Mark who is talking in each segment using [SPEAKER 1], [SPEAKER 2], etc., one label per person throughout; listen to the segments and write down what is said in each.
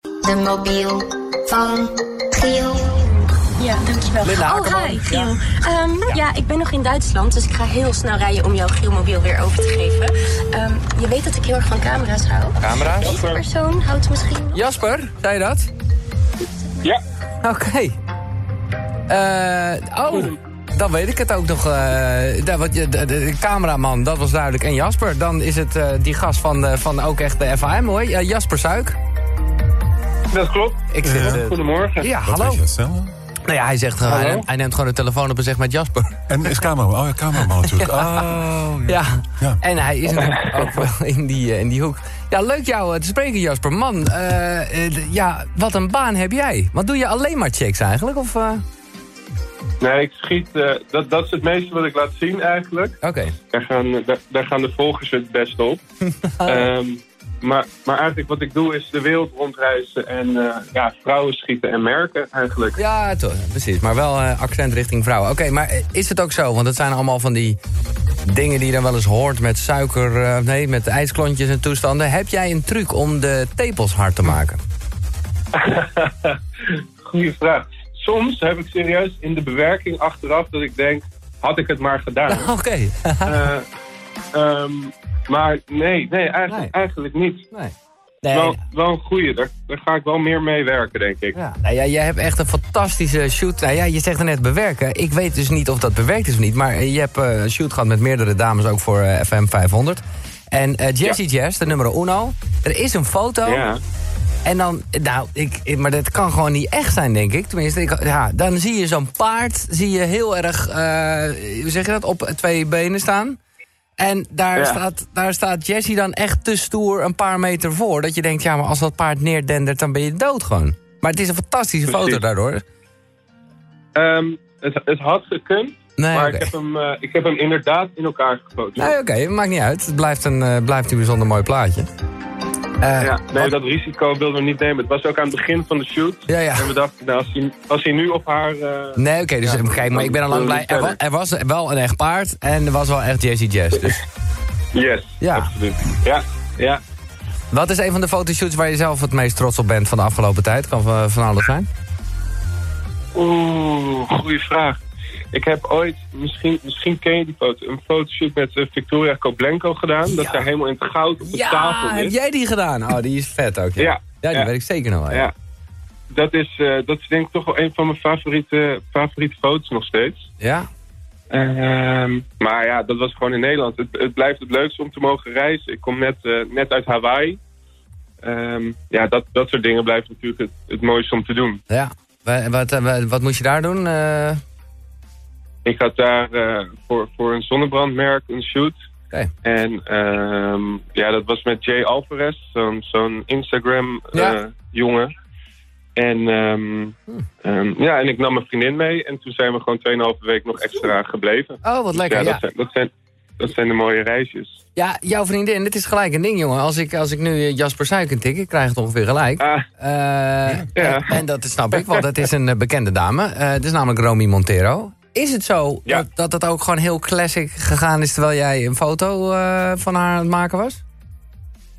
[SPEAKER 1] de mobiel van Giel.
[SPEAKER 2] Ja, dankjewel.
[SPEAKER 3] Linda
[SPEAKER 2] oh,
[SPEAKER 3] Akkerman.
[SPEAKER 2] hi, Giel. Ehm, ja. ik ben nog in Duitsland, dus ik ga heel snel rijden om jouw Gielmobiel weer over te geven. Ehm, je weet dat ik heel erg van camera's hou.
[SPEAKER 3] Camera's?
[SPEAKER 2] Deze persoon houdt misschien...
[SPEAKER 3] Jasper, zei je dat?
[SPEAKER 4] Ja,
[SPEAKER 3] Oké. Eh, oh, dan weet ik het ook nog. eh daar, wat je, de, de- de cameraman, dat was duidelijk. En Jasper, dan is het eh, die gast van, de, van ook echt de FAM, hoor. Ja, Jasper Suik.
[SPEAKER 4] dat klopt.
[SPEAKER 3] Ik zit,
[SPEAKER 5] Ja.
[SPEAKER 3] eh,
[SPEAKER 4] Goedemorgen.
[SPEAKER 3] ja,
[SPEAKER 5] Wat
[SPEAKER 3] hallo.
[SPEAKER 5] weet je dat zelf?
[SPEAKER 3] Nou ja, hij zegt, gewoon, hij,
[SPEAKER 4] Hallo.
[SPEAKER 3] neemt, hij neemt gewoon de telefoon op en zegt met Jasper.
[SPEAKER 5] En is cameraman. Oh ja, cameraman natuurlijk. Oh, ja.
[SPEAKER 3] Ja.
[SPEAKER 5] Ja.
[SPEAKER 3] En hij is natuurlijk ook wel in die, eh, in die hoek. Ja, leuk jou eh, te spreken, Jasper. Man, eh, eh, d- ja, wat een baan heb jij. Wat doe je alleen maar checks eigenlijk? Of, eh,
[SPEAKER 4] Nee, ik schiet. eh, dat, dat is het meeste wat ik laat zien eigenlijk.
[SPEAKER 3] Oké.
[SPEAKER 4] Daar gaan, daar, daar gaan de volgers het best op. Ehm, maar, maar eigenlijk wat ik doe is de wereld rondreizen en eh, ja, vrouwen schieten en merken eigenlijk.
[SPEAKER 3] Ja, toch, precies. Maar wel eh, accent richting vrouwen. Oké, maar eh, is het ook zo? Want het zijn allemaal van die dingen die je dan wel eens hoort met suiker... eh, nee, met ijsklontjes en toestanden. Heb jij een truc om de tepels hard te maken?
[SPEAKER 4] Goeie vraag. Soms heb ik serieus in de bewerking achteraf dat ik denk, had ik het maar gedaan.
[SPEAKER 3] Oké.
[SPEAKER 4] Eh, ehm, maar nee, nee, eigenlijk,
[SPEAKER 3] Nee.
[SPEAKER 4] eigenlijk niet.
[SPEAKER 3] nee. Nou,
[SPEAKER 4] Wel, wel een goeie, daar, daar ga ik wel meer mee werken, denk ik.
[SPEAKER 3] Ja. Nou ja, jij hebt echt een fantastische shoot. Nou ja, je zegt er net bewerken. Ik weet dus niet of dat bewerkt is of niet. Maar eh, je hebt eh, een shoot gehad met meerdere dames, ook voor eh, FM 500. En eh Jazzy Jazz, de nummer uno. Er is een foto.
[SPEAKER 4] Ja.
[SPEAKER 3] En dan, eh, nou, ik, ik- maar dat kan gewoon niet echt zijn, denk ik. Tenminste, ik, ja, dan zie je zo'n paard, zie je heel erg, eh, hoe zeg je dat, op twee benen staan. En daar,
[SPEAKER 4] Ja.
[SPEAKER 3] staat, daar staat Jesse dan echt te stoer een paar meter voor. Dat je denkt, ja, maar als dat paard neerdendert, dan ben je dood gewoon. Maar het is een fantastische foto
[SPEAKER 4] Precies.
[SPEAKER 3] daardoor.
[SPEAKER 4] Ehm, het, het had gekund,
[SPEAKER 3] Nee,
[SPEAKER 4] maar
[SPEAKER 3] oké.
[SPEAKER 4] ik, heb hem, eh, ik heb hem inderdaad in elkaar gegoten.
[SPEAKER 3] Nee, oké, maakt niet uit. Het blijft een, eh, blijft een bijzonder mooi plaatje. Eh,
[SPEAKER 4] ja, nee
[SPEAKER 3] wat-
[SPEAKER 4] dat risico wilden we niet nemen. Het was ook aan het begin van de shoot.
[SPEAKER 3] Ja, ja.
[SPEAKER 4] En we dachten, nou, als, hij, als hij nu op haar... eh,
[SPEAKER 3] Nee, oké, dus
[SPEAKER 4] Ja,
[SPEAKER 3] kijk, maar ik ben al lang
[SPEAKER 4] dan
[SPEAKER 3] blij. Er was,
[SPEAKER 4] verder.
[SPEAKER 3] er was wel een echt paard en er was wel echt Jesse Jazz. Dus
[SPEAKER 4] Yes,
[SPEAKER 3] Ja.
[SPEAKER 4] absoluut. Ja, ja.
[SPEAKER 3] Wat is een van de fotoshoots waar je zelf het meest trots op bent van de afgelopen tijd? Kan van van alles zijn.
[SPEAKER 4] Oeh, goede vraag. Ik heb ooit, misschien, misschien ken je die foto, een fotoshoot met eh, Victoria Koblenko gedaan. Dat zij helemaal in het goud op de tafel
[SPEAKER 3] heb
[SPEAKER 4] is.
[SPEAKER 3] jij die gedaan? Oh, die is vet ook. Ja,
[SPEAKER 4] Ja,
[SPEAKER 3] die
[SPEAKER 4] ja.
[SPEAKER 3] weet ik zeker nog wel. Ja.
[SPEAKER 4] Ja. Dat is, eh, dat is denk ik toch wel een van mijn favoriete, favoriete foto's nog steeds.
[SPEAKER 3] Ja?
[SPEAKER 4] Ehm, maar ja, dat was gewoon in Nederland. Het, het blijft het leukste om te mogen reizen. Ik kom net, eh, net uit Hawaii. Ehm, ja, dat, dat soort dingen blijft natuurlijk het, het mooiste om te doen.
[SPEAKER 3] ja. Wa- Wat, eh, wa- wat moest je daar doen? Eh,
[SPEAKER 4] Ik had daar eh, voor, voor een zonnebrandmerk een shoot.
[SPEAKER 3] Oké.
[SPEAKER 4] En ehm, ja, dat was met Jay Alvarez, zo'n zo'n
[SPEAKER 3] Ja.
[SPEAKER 4] Instagram-jongen. En, ehm, ehm, ja, en ik nam mijn vriendin mee. En toen zijn we gewoon 2,5 week nog extra gebleven.
[SPEAKER 3] Oh, wat lekker.
[SPEAKER 4] ja,
[SPEAKER 3] Ja,
[SPEAKER 4] Dat, zijn, dat, zijn, dat zijn de mooie reisjes.
[SPEAKER 3] Ja, jouw vriendin, dit is gelijk een ding, jongen. Als ik, als ik nu eh, Jasper Suiken tik, ik krijg het ongeveer gelijk.
[SPEAKER 4] Ah,
[SPEAKER 3] Eh, en, en dat snap ik, want het is een eh, bekende dame. Eh, het is namelijk Romy Montero. Is het zo
[SPEAKER 4] Ja.
[SPEAKER 3] dat, dat het ook gewoon heel classic gegaan is terwijl jij een foto eh, van haar aan het maken was?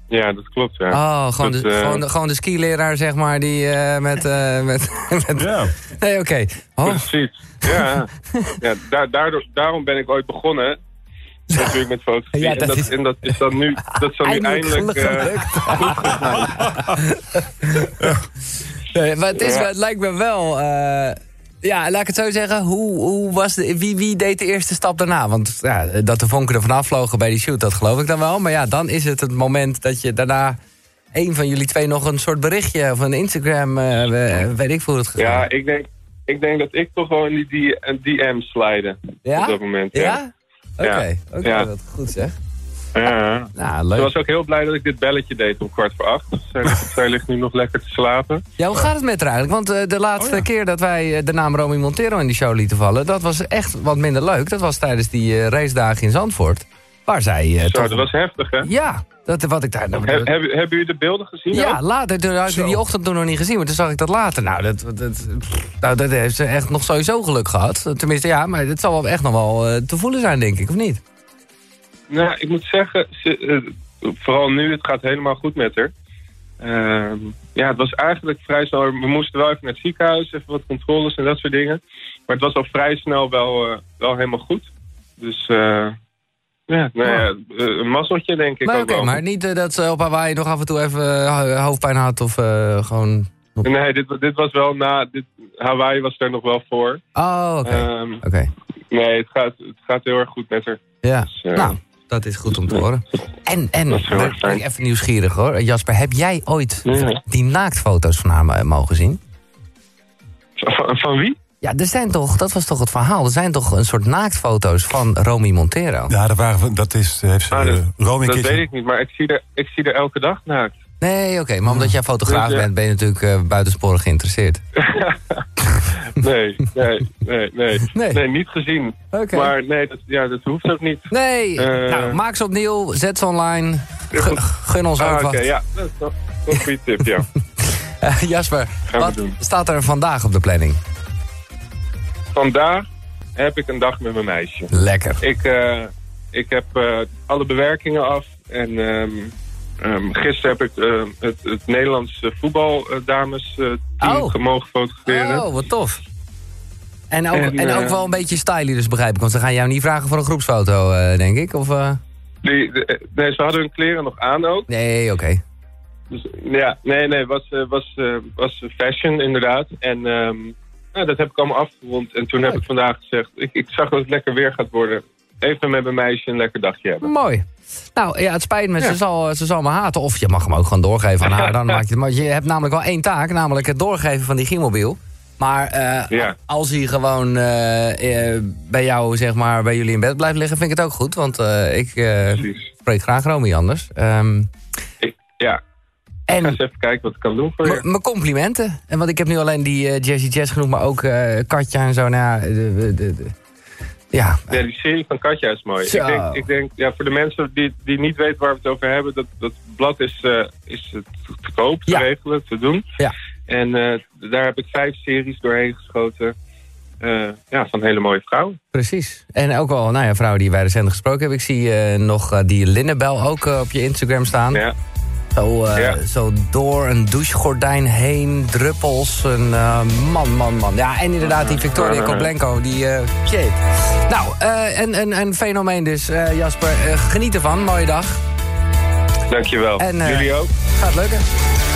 [SPEAKER 4] ja, dat klopt. Ja.
[SPEAKER 3] Oh, gewoon,
[SPEAKER 4] Dat,
[SPEAKER 3] de,
[SPEAKER 4] eh,
[SPEAKER 3] gewoon, de, gewoon de skileraar, zeg maar, die eh, met, eh, met, met...
[SPEAKER 5] Ja.
[SPEAKER 3] Nee, oké. Oh,
[SPEAKER 4] Precies. Ja, ja da- daardoor, daarom ben ik ooit begonnen. Natuurlijk met fotografie.
[SPEAKER 3] Ja, dat
[SPEAKER 4] en, dat,
[SPEAKER 3] is-
[SPEAKER 4] en dat is dan nu, dat is dan nu eindelijk. eh,
[SPEAKER 3] nee, maar het, is,
[SPEAKER 4] Ja.
[SPEAKER 3] wel- het lijkt me wel... eh, ja, laat ik het zo zeggen. Hoe, hoe was de, wie, wie deed de eerste stap daarna? Want ja, dat de vonken er vanaf vlogen bij die shoot, dat geloof ik dan wel. Maar ja, dan is het het moment dat je daarna... een van jullie twee nog een soort berichtje of een Instagram... eh, we- weet ik veel hoe het gegaan.
[SPEAKER 4] ja, ik denk, ik denk dat ik toch wel in die D- DM slide.
[SPEAKER 3] Ja?
[SPEAKER 4] Op dat moment. Ja.
[SPEAKER 3] Ja? Oké,
[SPEAKER 4] Ja.
[SPEAKER 3] oké,
[SPEAKER 4] Ja.
[SPEAKER 3] dat goed zeg.
[SPEAKER 4] Ja.
[SPEAKER 3] Nou,
[SPEAKER 4] Ze
[SPEAKER 3] leuk.
[SPEAKER 4] was ook heel blij dat ik dit belletje deed om kwart voor acht. Dus Zij ligt, zij ligt nu nog lekker te slapen.
[SPEAKER 3] Ja, hoe gaat het met haar eigenlijk? Want eh, de laatste keer dat wij eh, de naam Romy Montero in die show lieten vallen... dat was echt wat minder leuk. Dat was tijdens die eh, racedagen in Zandvoort. Waar zij eh,
[SPEAKER 4] Zo,
[SPEAKER 3] toch...
[SPEAKER 4] dat was heftig, hè?
[SPEAKER 3] Ja, dat, wat ik daar...
[SPEAKER 4] He- hebben, hebben jullie de beelden gezien?
[SPEAKER 3] ja,
[SPEAKER 4] ook?
[SPEAKER 3] later. Toen had ik
[SPEAKER 5] Zo.
[SPEAKER 3] die ochtend toen nog niet gezien, maar toen zag ik dat later. Nou, dat, dat, nou, dat heeft ze echt nog sowieso geluk gehad. Tenminste, ja, maar het zal wel echt nog wel eh, te voelen zijn, denk ik, of niet?
[SPEAKER 4] Nou, ik moet zeggen, ze, eh, vooral nu, het gaat helemaal goed met haar. Ehm, ja, het was eigenlijk vrij snel. We moesten wel even naar het ziekenhuis, even wat controles en dat soort dingen. Maar het was al vrij snel wel, eh, wel helemaal goed. Dus eh, ja, nou ja, eh, een mazzeltje denk ik
[SPEAKER 3] Maar
[SPEAKER 4] ook
[SPEAKER 3] oké,
[SPEAKER 4] wel.
[SPEAKER 3] maar niet eh, dat ze op Hawaii nog af en toe even eh, hoofdpijn had of eh, gewoon...
[SPEAKER 4] Nee, dit, dit was wel na... Dit, Hawaii was daar nog wel voor.
[SPEAKER 3] Oh, oké.
[SPEAKER 4] Ehm,
[SPEAKER 3] Oké,
[SPEAKER 4] nee, het gaat, het gaat heel erg goed met haar.
[SPEAKER 3] ja.
[SPEAKER 4] eh,
[SPEAKER 3] nou, dat is goed om te horen. En, en
[SPEAKER 4] Dat is heel erg
[SPEAKER 3] ben ik
[SPEAKER 4] fijn.
[SPEAKER 3] even nieuwsgierig hoor. Jasper, heb jij ooit
[SPEAKER 4] Ja.
[SPEAKER 3] die naaktfoto's van haar eh, mogen zien?
[SPEAKER 4] Van, van wie?
[SPEAKER 3] Ja, er zijn toch, dat was toch het verhaal, er zijn toch een soort naaktfoto's van Romy Montero?
[SPEAKER 5] Ja, dat, waren, we- dat is, heeft ze,
[SPEAKER 4] Ah,
[SPEAKER 5] eh,
[SPEAKER 4] dat-
[SPEAKER 5] Romy een
[SPEAKER 4] Dat
[SPEAKER 5] keertje-
[SPEAKER 4] weet ik niet, maar ik zie er, ik zie er elke dag naakt.
[SPEAKER 3] Nee, oké, maar omdat jij fotograaf
[SPEAKER 4] Dus, ja.
[SPEAKER 3] bent, ben je natuurlijk eh, buitensporig geïnteresseerd.
[SPEAKER 4] Nee, nee, nee, nee.
[SPEAKER 3] Nee.
[SPEAKER 4] Nee, niet gezien.
[SPEAKER 3] Oké.
[SPEAKER 4] Maar nee, dat, ja, dat hoeft ook niet.
[SPEAKER 3] Nee,
[SPEAKER 4] Eh.
[SPEAKER 3] nou, maak ze opnieuw, zet ze online, Gu- gun ons
[SPEAKER 4] Ah,
[SPEAKER 3] ook
[SPEAKER 4] oké,
[SPEAKER 3] wat.
[SPEAKER 4] ja. Dat is toch toch een goede tip, ja.
[SPEAKER 3] Eh, Jasper,
[SPEAKER 4] we
[SPEAKER 3] wat
[SPEAKER 4] doen.
[SPEAKER 3] staat er vandaag op de planning?
[SPEAKER 4] Vandaag heb ik een dag met mijn meisje.
[SPEAKER 3] Lekker.
[SPEAKER 4] Ik, eh, ik heb eh, alle bewerkingen af. En ehm, ehm, gisteren heb ik eh, het, het Nederlandse eh, voetbaldames-team
[SPEAKER 3] Oh.
[SPEAKER 4] mogen fotograferen.
[SPEAKER 3] Oh, wat tof. En ook, en,
[SPEAKER 4] En, eh,
[SPEAKER 3] ook wel een beetje stylish, dus begrijp ik. Want ze gaan jou niet vragen voor een groepsfoto, eh, denk ik. Of, eh?
[SPEAKER 4] Die, de- eh, nee, ze hadden hun kleren nog aan ook.
[SPEAKER 3] Nee, oké.
[SPEAKER 4] Dus, ja, nee, nee, was, eh, was, eh, was fashion inderdaad. En ehm, nou, dat heb ik allemaal afgerond. En toen heb
[SPEAKER 3] Leuk.
[SPEAKER 4] ik vandaag gezegd, ik, ik zag dat het lekker weer gaat worden. Even met mijn meisje een lekker dagje hebben.
[SPEAKER 3] Mooi. Nou ja, het spijt me, ze,
[SPEAKER 4] Ja.
[SPEAKER 3] zal, ze zal me haten. Of je mag hem ook gewoon doorgeven aan haar. Dan maak je, het, maar je hebt namelijk wel één taak, namelijk het doorgeven van die giermobiel. Maar eh,
[SPEAKER 4] Ja.
[SPEAKER 3] als hij gewoon eh, eh, bij jou, zeg maar, bij jullie in bed blijft liggen, vind ik het ook goed. Want eh, ik eh,
[SPEAKER 4] Precies.
[SPEAKER 3] spreek graag Romy anders. Ehm,
[SPEAKER 4] Ik, ja, ik ga
[SPEAKER 3] en
[SPEAKER 4] eens even kijken wat ik kan doen voor
[SPEAKER 3] M-
[SPEAKER 4] je.
[SPEAKER 3] Mijn complimenten. En want ik heb nu alleen die eh, Jazzy Jazz genoemd, maar ook eh, Katja en zo. Nou ja, de- de- de- de- ja.
[SPEAKER 4] Ja, die serie van Katja is mooi.
[SPEAKER 3] Zo.
[SPEAKER 4] Ik denk, ik denk ja, voor de mensen die, die niet weten waar we het over hebben, dat, dat blad is, eh, is te te koop, te
[SPEAKER 3] Ja.
[SPEAKER 4] regelen, te doen.
[SPEAKER 3] Ja.
[SPEAKER 4] En eh, daar heb ik vijf series doorheen geschoten eh, ja, van hele mooie vrouwen.
[SPEAKER 3] precies. En ook al, nou ja, vrouwen die wij recent gesproken hebben. Ik zie eh, nog eh, die Linnebel ook eh, op je Instagram staan.
[SPEAKER 4] Ja.
[SPEAKER 3] Zo, eh,
[SPEAKER 4] Ja.
[SPEAKER 3] zo door een douchegordijn heen, druppels. En, eh, man, man, man. Ja, en inderdaad die Victoria Koblenko, die... eh, shit. Nou, eh, een, een, een fenomeen dus, eh, Jasper. Eh, geniet ervan, mooie dag.
[SPEAKER 4] Dankjewel.
[SPEAKER 3] En, eh,
[SPEAKER 4] Jullie ook.
[SPEAKER 3] Gaat lukken.